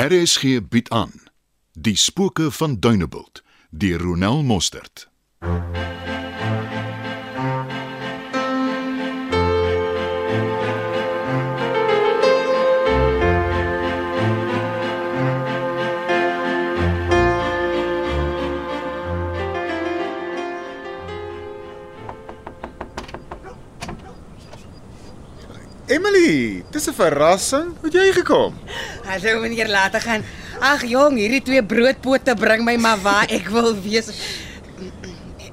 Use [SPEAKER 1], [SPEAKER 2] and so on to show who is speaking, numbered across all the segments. [SPEAKER 1] RSG bied aan Die spooke van Duneveld deur Ronel Mostert.
[SPEAKER 2] Emily, dis 'n verrassing. Hoe het jy gekom?
[SPEAKER 3] Hallo meneer later gaan. Ag jong, hierdie twee broodpote bring my maar waar ek wil wees.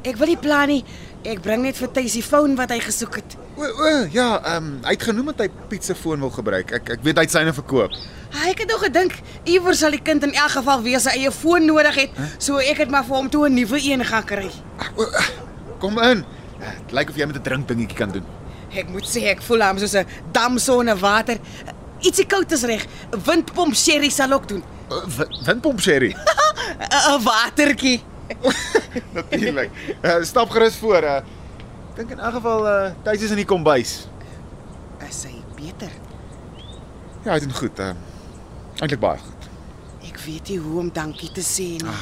[SPEAKER 3] Ek wil nie plan nie. Ek bring net vir Tuis die foon wat hy gesoek het.
[SPEAKER 2] O, o ja, ehm hy het genoem dat hy pizza foon wil gebruik. Ek ek weet hy het syne verkoop.
[SPEAKER 3] Ah, Ek het nog gedink iewers sal die kind in elk geval weer sy eie foon nodig het, so ek het maar vir hom toe 'n nuwe een gaan kry.
[SPEAKER 2] O, kom in. Dit lyk of jy met 'n drinkdingetjie kan doen.
[SPEAKER 3] Ek moet sê ek voel hom soos 'n dam sonder water. Ietsie koud is reg. Windpomp sherry sal ook doen.
[SPEAKER 2] O, wi- Windpomp sherry.
[SPEAKER 3] 'n 'n Watertjie.
[SPEAKER 2] Natuurlik. Uh, stap gerus voor. Uh, ek dink in elk geval uh tuis is in die kombuis.
[SPEAKER 3] Is hy beter?
[SPEAKER 2] Ja, hy doen goed. Ehm eintlik baie goed.
[SPEAKER 3] Ek weet nie hoe om dankie te sê nie.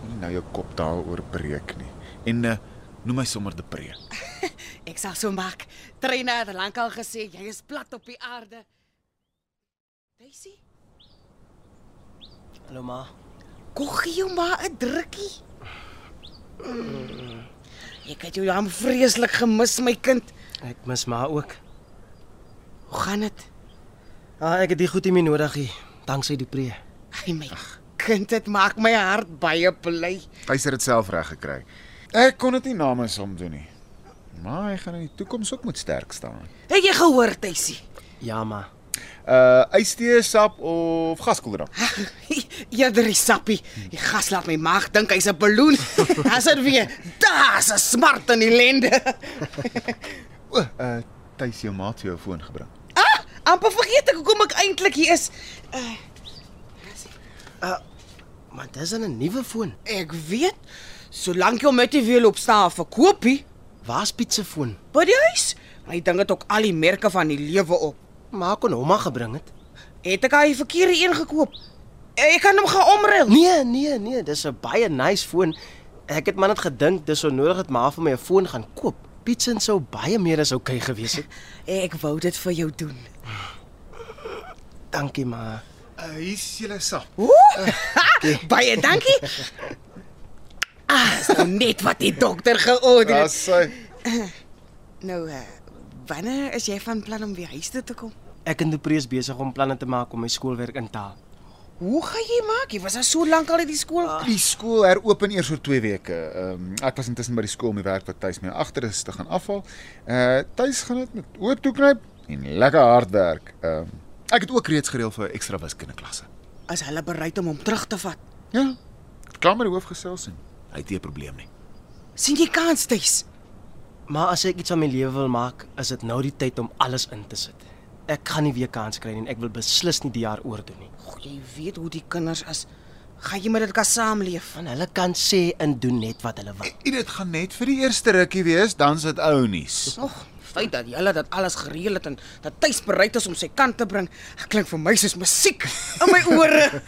[SPEAKER 2] Moenie nou jou kop daaroor breek nie. En uh noem my sommer depree.
[SPEAKER 3] Ek sal so maak. Trina het lankal gesê jy is plat op die aarde. Daisy,
[SPEAKER 4] Hallo ma.
[SPEAKER 3] kog gee jou maar 'n drukkie. Hmm. Ek het jou jam vreeslik gemis, my kind.
[SPEAKER 4] Ek mis ma ook.
[SPEAKER 3] Hoe gaan dit?
[SPEAKER 4] Ah, ek het die goed nie meer nodig nie, danksy die pree.
[SPEAKER 3] Ai my kind, dit maak my hart baie bly.
[SPEAKER 2] Hy het dit self reg gekry. Ek kon dit nie namens hom doen nie. Maar hy gaan in die toekoms ook moet sterk staan.
[SPEAKER 3] Het jy gehoor, Daisy?
[SPEAKER 4] Ja ma.
[SPEAKER 2] Uh ystee, sap of gaskoeldrank.
[SPEAKER 3] Eerder die sappie. Die gas laat my maag dink hy's 'n balloon. As dit weer, daar's 'n smart in die lende.
[SPEAKER 2] O, uh tuis jou maat jou foon gebring.
[SPEAKER 3] Ah, amper vergeet ek hoekom ek eintlik hier is. Uh,
[SPEAKER 4] Maar dis dan 'n nuwe foon.
[SPEAKER 3] Ek weet, solank jy hom met die wiel op staan verkoopie,
[SPEAKER 4] Waar's Piet se foon?
[SPEAKER 3] by die huis, my ding het ook al die merke van die lewe op.
[SPEAKER 4] Ma kon hom maar gebring het.
[SPEAKER 3] Het ek hy verkeerde een gekoop? Ek kan hom gaan omruil.
[SPEAKER 4] Nee, nee, nee, dis 'n baie nice foon. Ek het maar net gedink dis onnodig dat ma vir my 'n foon gaan koop. Piet se sou baie meer as oukei okay gewees het.
[SPEAKER 3] Ek wou dit vir jou doen.
[SPEAKER 4] Dankie ma.
[SPEAKER 2] Uh hier's julle sap.
[SPEAKER 3] Ooh, baie dankie. Ah, is nou net wat die dokter georder
[SPEAKER 2] Daar's
[SPEAKER 3] het.
[SPEAKER 2] sy.
[SPEAKER 3] Nou, eh, wanneer is jy van plan om weer huis toe te kom?
[SPEAKER 4] Ek en die pree is besig om planne te maak om my skoolwerk in te haal.
[SPEAKER 3] Hoe gaan jy maak? Jy was al so lank al uit die skool.
[SPEAKER 2] Die skool heropen eers oor 2 weke. Ehm um, ek was intussen by die skool om die werk wat tuis my agter is te gaan afhaal. Uh tuis gaan dit met oop toe knyp en lekker hard werk. Ehm um, ek het ook reeds gereël vir ekstra wiskunde klasse.
[SPEAKER 3] Is hulle bereid om hom terug te vat?
[SPEAKER 2] Ja. ek het Klaar met die hoof gesels en hy het nie 'n probleem nie.
[SPEAKER 3] sien jy kans, Tuis?
[SPEAKER 4] Maar as ek iets aan my lewe wil maak, is dit nou die tyd om alles in te sit. Ek gaan nie weer kans kry nie en ek wil beslis nie die jaar oordoen nie.
[SPEAKER 3] Goh, jy weet hoe die kinders is. Gaan jy met dit kan saamleef?
[SPEAKER 4] Van hulle kan sê en doen net wat hulle wil.
[SPEAKER 2] En dit gaan net vir die eerste rukkie wees, dan's dit ou nuus.
[SPEAKER 3] Nog feit dat hulle dit alles gereël het en dat tuis bereid is om sy kant te bring, klink vir my soos musiek in my ore.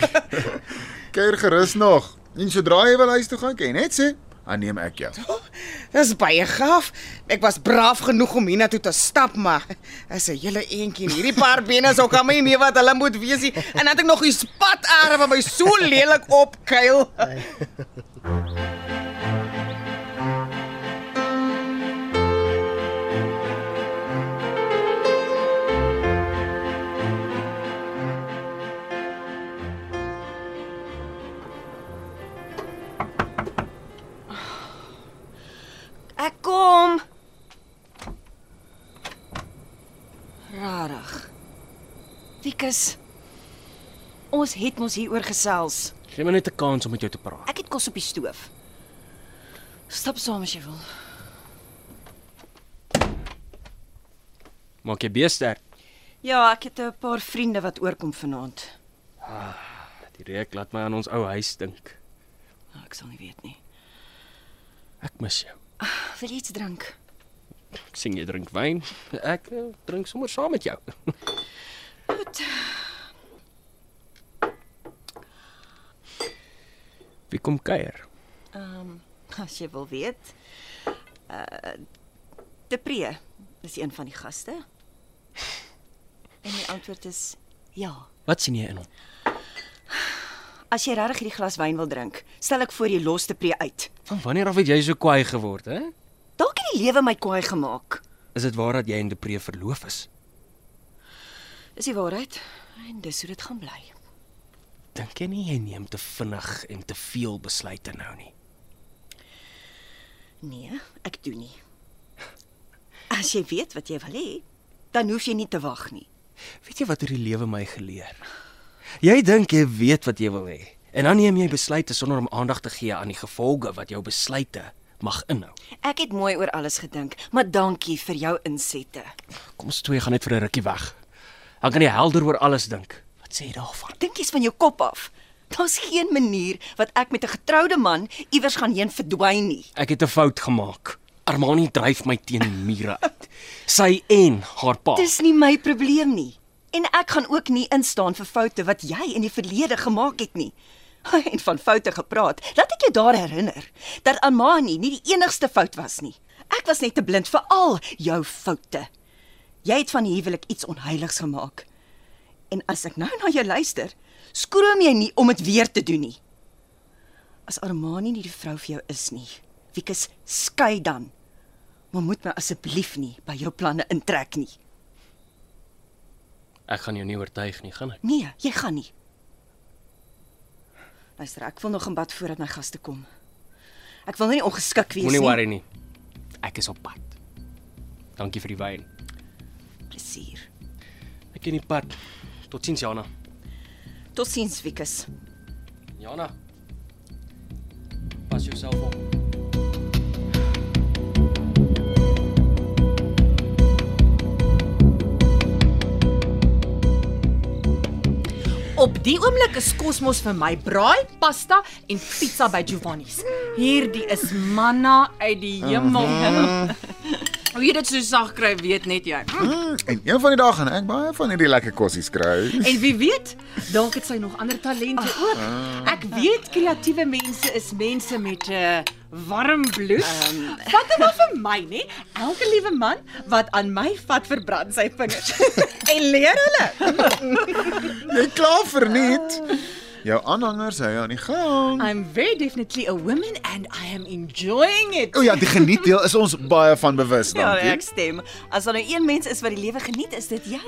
[SPEAKER 2] Keer gerus nog. En sodra jy wil huis toe gaan, ken net sê, "Dan neem ek jou."
[SPEAKER 3] Dis baie gaaf. Ek was braaf genoeg om hiernatoe te stap, maar is 'n hele eentjie en hierdie paar bene sou kan my nie meer wat hulle moet wees nie. En dan het ek nog die spatare wat my so lelik opkuil.
[SPEAKER 5] Ek kom. Rarig. Wikus. Ons het mos hieroor gesels.
[SPEAKER 4] Geen minuut 'n kans om met jou te praat.
[SPEAKER 5] Ek het kos op die stoof. Stap saam as jy wil.
[SPEAKER 6] Maak jy beesterk.
[SPEAKER 5] Ja, ek het 'n paar vriende wat oorkom vanaand.
[SPEAKER 6] Die reuk laat my aan ons ou huis dink.
[SPEAKER 5] Nou, Ek sal nie weet nie.
[SPEAKER 6] Ek mis jou.
[SPEAKER 5] Wil jy iets drink?
[SPEAKER 6] Ek sien jy drink wyn. Ek eh, drink sommer saam met jou.
[SPEAKER 5] Goed.
[SPEAKER 4] Wie kom kuier?
[SPEAKER 5] Ehm, As jy wil weet. Uh Depree is een van die gaste. En die antwoord is ja.
[SPEAKER 4] Wat sien jy in hom?
[SPEAKER 5] As jy regtig hierdie glas wyn wil drink, stel ek voor jy los Depree uit.
[SPEAKER 4] Van wanneer af het jy so kwaai geword, hè?
[SPEAKER 5] Dalk het die lewe my kwaai gemaak.
[SPEAKER 4] Is dit waar dat jy en Depree verloof is?
[SPEAKER 5] Dis die waarheid en dis hoe dit gaan bly.
[SPEAKER 4] Dink jy nie jy neem te vinnig en te veel besluite nou nie?
[SPEAKER 5] Nee, ek doen nie. As jy weet wat jy wil hê, dan hoef jy nie te wag nie.
[SPEAKER 4] Weet jy wat hierdie lewe my geleer? Jy dink jy weet wat jy wil hê en dan neem jy besluite sonder om aandag te gee aan die gevolge wat jou besluite mag inhou.
[SPEAKER 5] Ek het mooi oor alles gedink, maar dankie vir jou insette.
[SPEAKER 4] Kom ons twee gaan net vir 'n rukkie weg. Dan kan jy helder oor alles dink. Wat sê jy daarvan?
[SPEAKER 5] Dink jy's van jou kop af. Daar's geen manier wat ek met 'n getroude man iewers gaan heen verdwyn nie.
[SPEAKER 4] Ek het 'n fout gemaak. Armani dryf my teen die mure uit. Sy en haar pa.
[SPEAKER 5] Dis nie my probleem nie. En ek gaan ook nie instaan vir foute wat jy in die verlede gemaak het nie. En van foute gepraat. Laat ek jou daar herinner dat Amani nie die enigste fout was nie. Ek was net te blind vir al jou foute. Jy het van die huwelik iets onheiligs gemaak. En as ek nou na jou luister, skroom jy nie om dit weer te doen nie. As Armani nie die vrou vir jou is nie, Wikus, skei dan. Maar moet my asseblief nie by jou planne intrek nie.
[SPEAKER 4] Ek gaan jou nie oortuig nie, gaan ek?
[SPEAKER 5] Nee, jy gaan nie. Luister, ek wil nog in bad voordat my gaste kom. Ek wil nie ongeskik wees
[SPEAKER 4] Moenie worry nie. Ek is op pad. Dankie vir die wyn.
[SPEAKER 5] Plesier.
[SPEAKER 4] Ek ken die pad. Totsiens Jana.
[SPEAKER 5] Totsiens, Wikus.
[SPEAKER 4] Jana. Pas jouself op.
[SPEAKER 7] Op die oomblik is kosmos vir my braai, pasta en pizza by Giovanni's. Hierdie is manna uit die hemel.
[SPEAKER 4] Mhm.
[SPEAKER 7] Hoe jy dit so sag kry, weet net jy.
[SPEAKER 2] Hm, En een van die dae gaan ek baie van hierdie lekker kossies kry.
[SPEAKER 7] En wie weet, dalk het sy nog ander talente ook. Ek weet kreatiewe mense is mense met 'n uh, warm bloed. Vat dit maar vir my, nê? Elke liewe man wat aan my vat, verbrand sy vingers. en leer hulle.
[SPEAKER 2] Jy klaar verniet. Jou aanhangers hou jou aan die gang.
[SPEAKER 7] I'm very definitely a woman and I am enjoying it.
[SPEAKER 2] O ja, die genietdeel is ons baie van bewus,
[SPEAKER 5] Ja,
[SPEAKER 2] dankie.
[SPEAKER 5] ek stem. As daar nou een mens is wat die lewe geniet, is dit jy.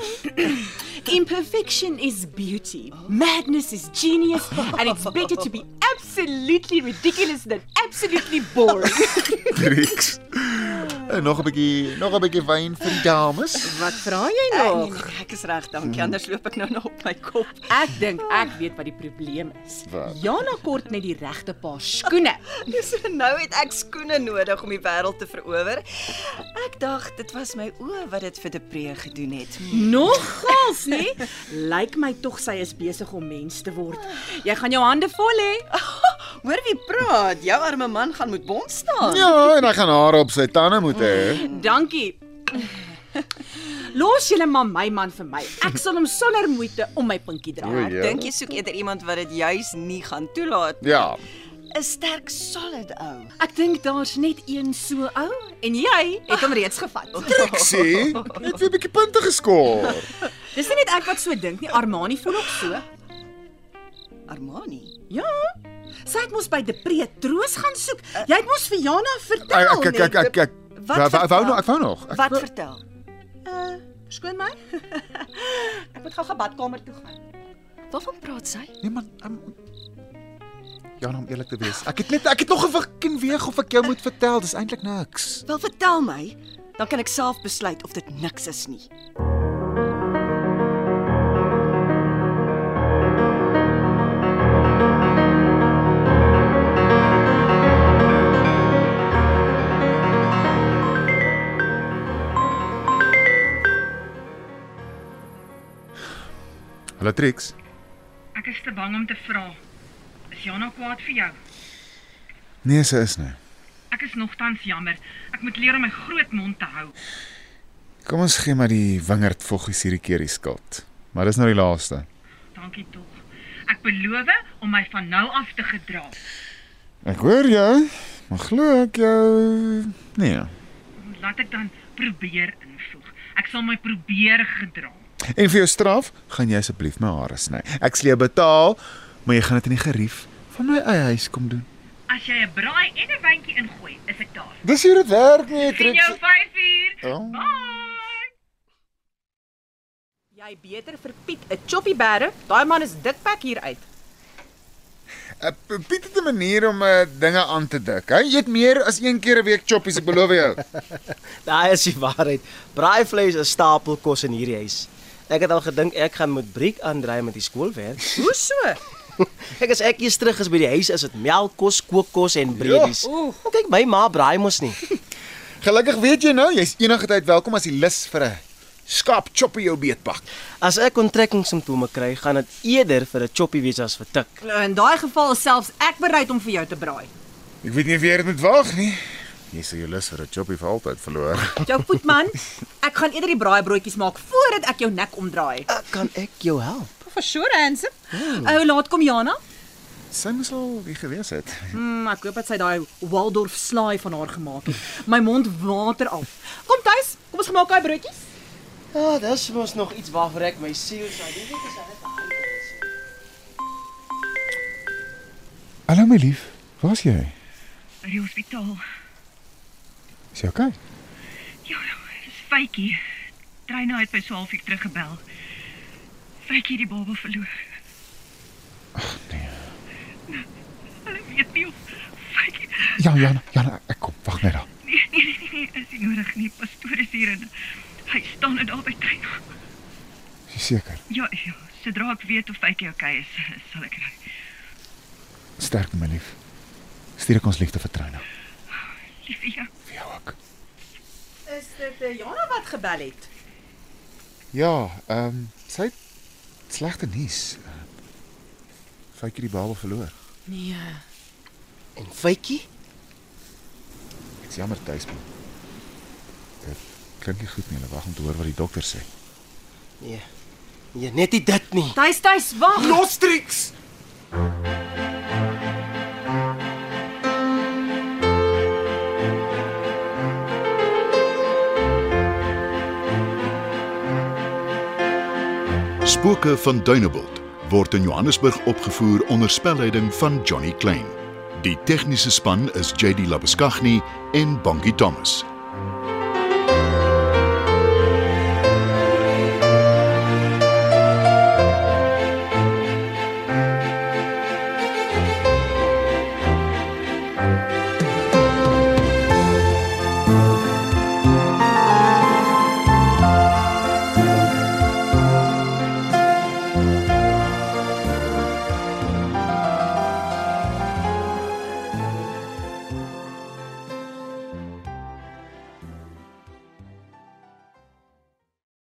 [SPEAKER 7] Imperfection is beauty. Madness is genius and it's better to be absolutely ridiculous than absolutely boring.
[SPEAKER 2] Tricks. En nog 'n bietjie, nog 'n bietjie wyn vir die dames.
[SPEAKER 7] Wat vra jy
[SPEAKER 5] Oh, nee, nee, ek is reg, dankie. Anders loop ek nou nog op my kop.
[SPEAKER 7] Ek dink ek weet wat die probleem is.
[SPEAKER 2] Wat?
[SPEAKER 7] Jana kort net die regte paar skoene.
[SPEAKER 5] Dis nou het ek skoene nodig om die wêreld te verower. Ek dacht dit was my oë wat dit vir Depree gedoen het.
[SPEAKER 7] Nogals, nê? nee? Lyk my tog sy is besig om mens te word. Jy gaan jou hande vol hê.
[SPEAKER 5] Hoor wie praat? Jou arme man gaan moet bond staan.
[SPEAKER 2] Ja, en hy gaan haar op sy tande moet hê.
[SPEAKER 7] Dankie. Los julle maar my man vir my. Ek sal hom sonder moeite om my pinkie dra.
[SPEAKER 2] Oei.
[SPEAKER 5] Ek dink jy soek eerder iemand wat dit juis nie gaan toelaat.
[SPEAKER 2] Ja.
[SPEAKER 5] 'n Sterk, solid ou.
[SPEAKER 7] Ek dink daar's net een so ou en jy het hom reeds gevat.
[SPEAKER 2] Ek sê, jy het weer 'n bietjie punte geskoor.
[SPEAKER 7] Dis nie net ek wat so dink nie, Armani voel ook so.
[SPEAKER 5] Armani.
[SPEAKER 7] Ja. Sy het mos by Depree troos gaan soek. Jy het mos vir Jana
[SPEAKER 2] Ek
[SPEAKER 7] vertel.
[SPEAKER 2] ek
[SPEAKER 7] nee.
[SPEAKER 2] ek ek ek. ek.
[SPEAKER 5] nee, Wat
[SPEAKER 2] Wou- wou- wou
[SPEAKER 5] vertel?
[SPEAKER 2] nog, ek wou nog. Ek
[SPEAKER 5] Wat
[SPEAKER 2] wou-
[SPEAKER 5] vertel?
[SPEAKER 7] Skoon my. ek moet gou-gou badkamer toe gaan.
[SPEAKER 5] Waarvan praat sy?
[SPEAKER 2] Nee man, um, Jan om eerlik te wees. Ek het net ek het nog gewik en weeg of ek jou moet vertel, dis eintlik niks.
[SPEAKER 5] Wel vertel my, dan kan ek self besluit of dit niks is nie.
[SPEAKER 2] Hallo Trix.
[SPEAKER 8] Ek is te bang om te vra. Is Jana kwaad vir jou?
[SPEAKER 2] Nee, sy is nie.
[SPEAKER 8] Ek is nogtans jammer. Ek moet leer om my groot mond te hou.
[SPEAKER 2] Kom ons gee maar die wingerd voggies hierdie keer die skuld. Maar dis nou die laaste.
[SPEAKER 8] Dankie tog. Ek beloof om my van nou af te gedra.
[SPEAKER 2] Ek hoor jou, maar glo ek jou nee.
[SPEAKER 8] Laat ek dan probeer invoeg. Ek sal my probeer gedra.
[SPEAKER 2] En vir jou straf, gaan jy asseblief my hare sny. Ek sal jou betaal, maar jy gaan dit in die gerief van my eie huis kom doen.
[SPEAKER 8] As jy 'n braai en 'n wyntjie ingooi, is ek daar.
[SPEAKER 2] Dis hoe dit werk eh, nie,
[SPEAKER 8] Sien jou 5 uur.
[SPEAKER 2] Oh.
[SPEAKER 8] Bye.
[SPEAKER 7] Jy beter vir Piet 'n choppie bære. Daai man is dikpak hier uit.
[SPEAKER 2] Uh, Piet het 'n manier om uh, dinge aan te dik. Hy eet meer as een keer 'n week choppies, ek beloof jou.
[SPEAKER 4] Daai is die waarheid. Braai vleis is stapelkos in hierdie huis. Ek het al gedink ek gaan moet briek aandry met die skoolwerk.
[SPEAKER 7] Hoe so?
[SPEAKER 4] Ek as ek eers terug is by die huis is dit melkkos, kookkos en breedies. Maar Kyk, my ma braai mos nie.
[SPEAKER 2] Gelukkig weet jy nou, jy's enige tyd welkom as jy lus vir 'n skaap choppie jou beetpak.
[SPEAKER 4] As ek onttrekkingssimptome kry, gaan dit eerder vir 'n choppie wees as vir tik.
[SPEAKER 7] Nou in daai geval is selfs ek bereid om vir jou te braai.
[SPEAKER 2] Ek weet nie of jy dit moet waag nie. Jy sal jou lus vir 'n choppie vir altyd verloor.
[SPEAKER 7] Jou voet man, ek gaan eerder die braaibroodjies maak voordat ek jou nek omdraai.
[SPEAKER 4] Uh, Kan ek jou help?
[SPEAKER 7] For sure, Hansen. Ou laat kom Jana.
[SPEAKER 2] Sy moes al hier gewees het.
[SPEAKER 7] Mm, ek hoop dat sy daai Waldorf slaai van haar gemaak het. My mond water af. Kom tuis, kom ons gemaak daai broodjies.
[SPEAKER 4] Ja, oh, dis mos nog iets waarvoor ek my siel sou doen. Dit is net
[SPEAKER 2] Hallo my lief, waar's jy?
[SPEAKER 8] By die hospitaal.
[SPEAKER 2] Is jy okay?
[SPEAKER 8] Ja, dis Faitjie. Treina het my so halfuur terug gebel. Faitjie het die baba verloor. Ag nee. Hulle weet nie of Faitjie
[SPEAKER 2] Ja, Jana, Jana, ek kom. Wag net daar.
[SPEAKER 8] nee, nee, nee, nee, nee, is nie nodig nie. Pastoor is hier en hy staan net daar by Treina.
[SPEAKER 2] Is jy seker?
[SPEAKER 8] Ja, ja, sodra ek weet of Faitjie okay is, sal ek nou- ry.
[SPEAKER 2] Sterk my lief. Stuur ek ons liefde vir Trina.
[SPEAKER 8] Liefie, ja.
[SPEAKER 2] Vir jou ook.
[SPEAKER 7] Is dit eh, Jana wat gebel het?
[SPEAKER 2] Ja, ehm um, sy het slegte nuus. Faitjie die baba verloor.
[SPEAKER 7] Nee.
[SPEAKER 4] en feitjie?
[SPEAKER 2] Ek's jammer tuis man. Dit klink nie goed nie. Hulle wag om te hoor wat die dokter sê.
[SPEAKER 4] Nee. Nee, net nie dit nie.
[SPEAKER 7] Tuis, tuis, wag.
[SPEAKER 4] Nostrix.
[SPEAKER 1] Spooke van Dunebuld word in Johannesburg opgevoer onder spelleiding van Johnny Klein. Die tegniese span is JD Labuskaghni en Bongie Thomas.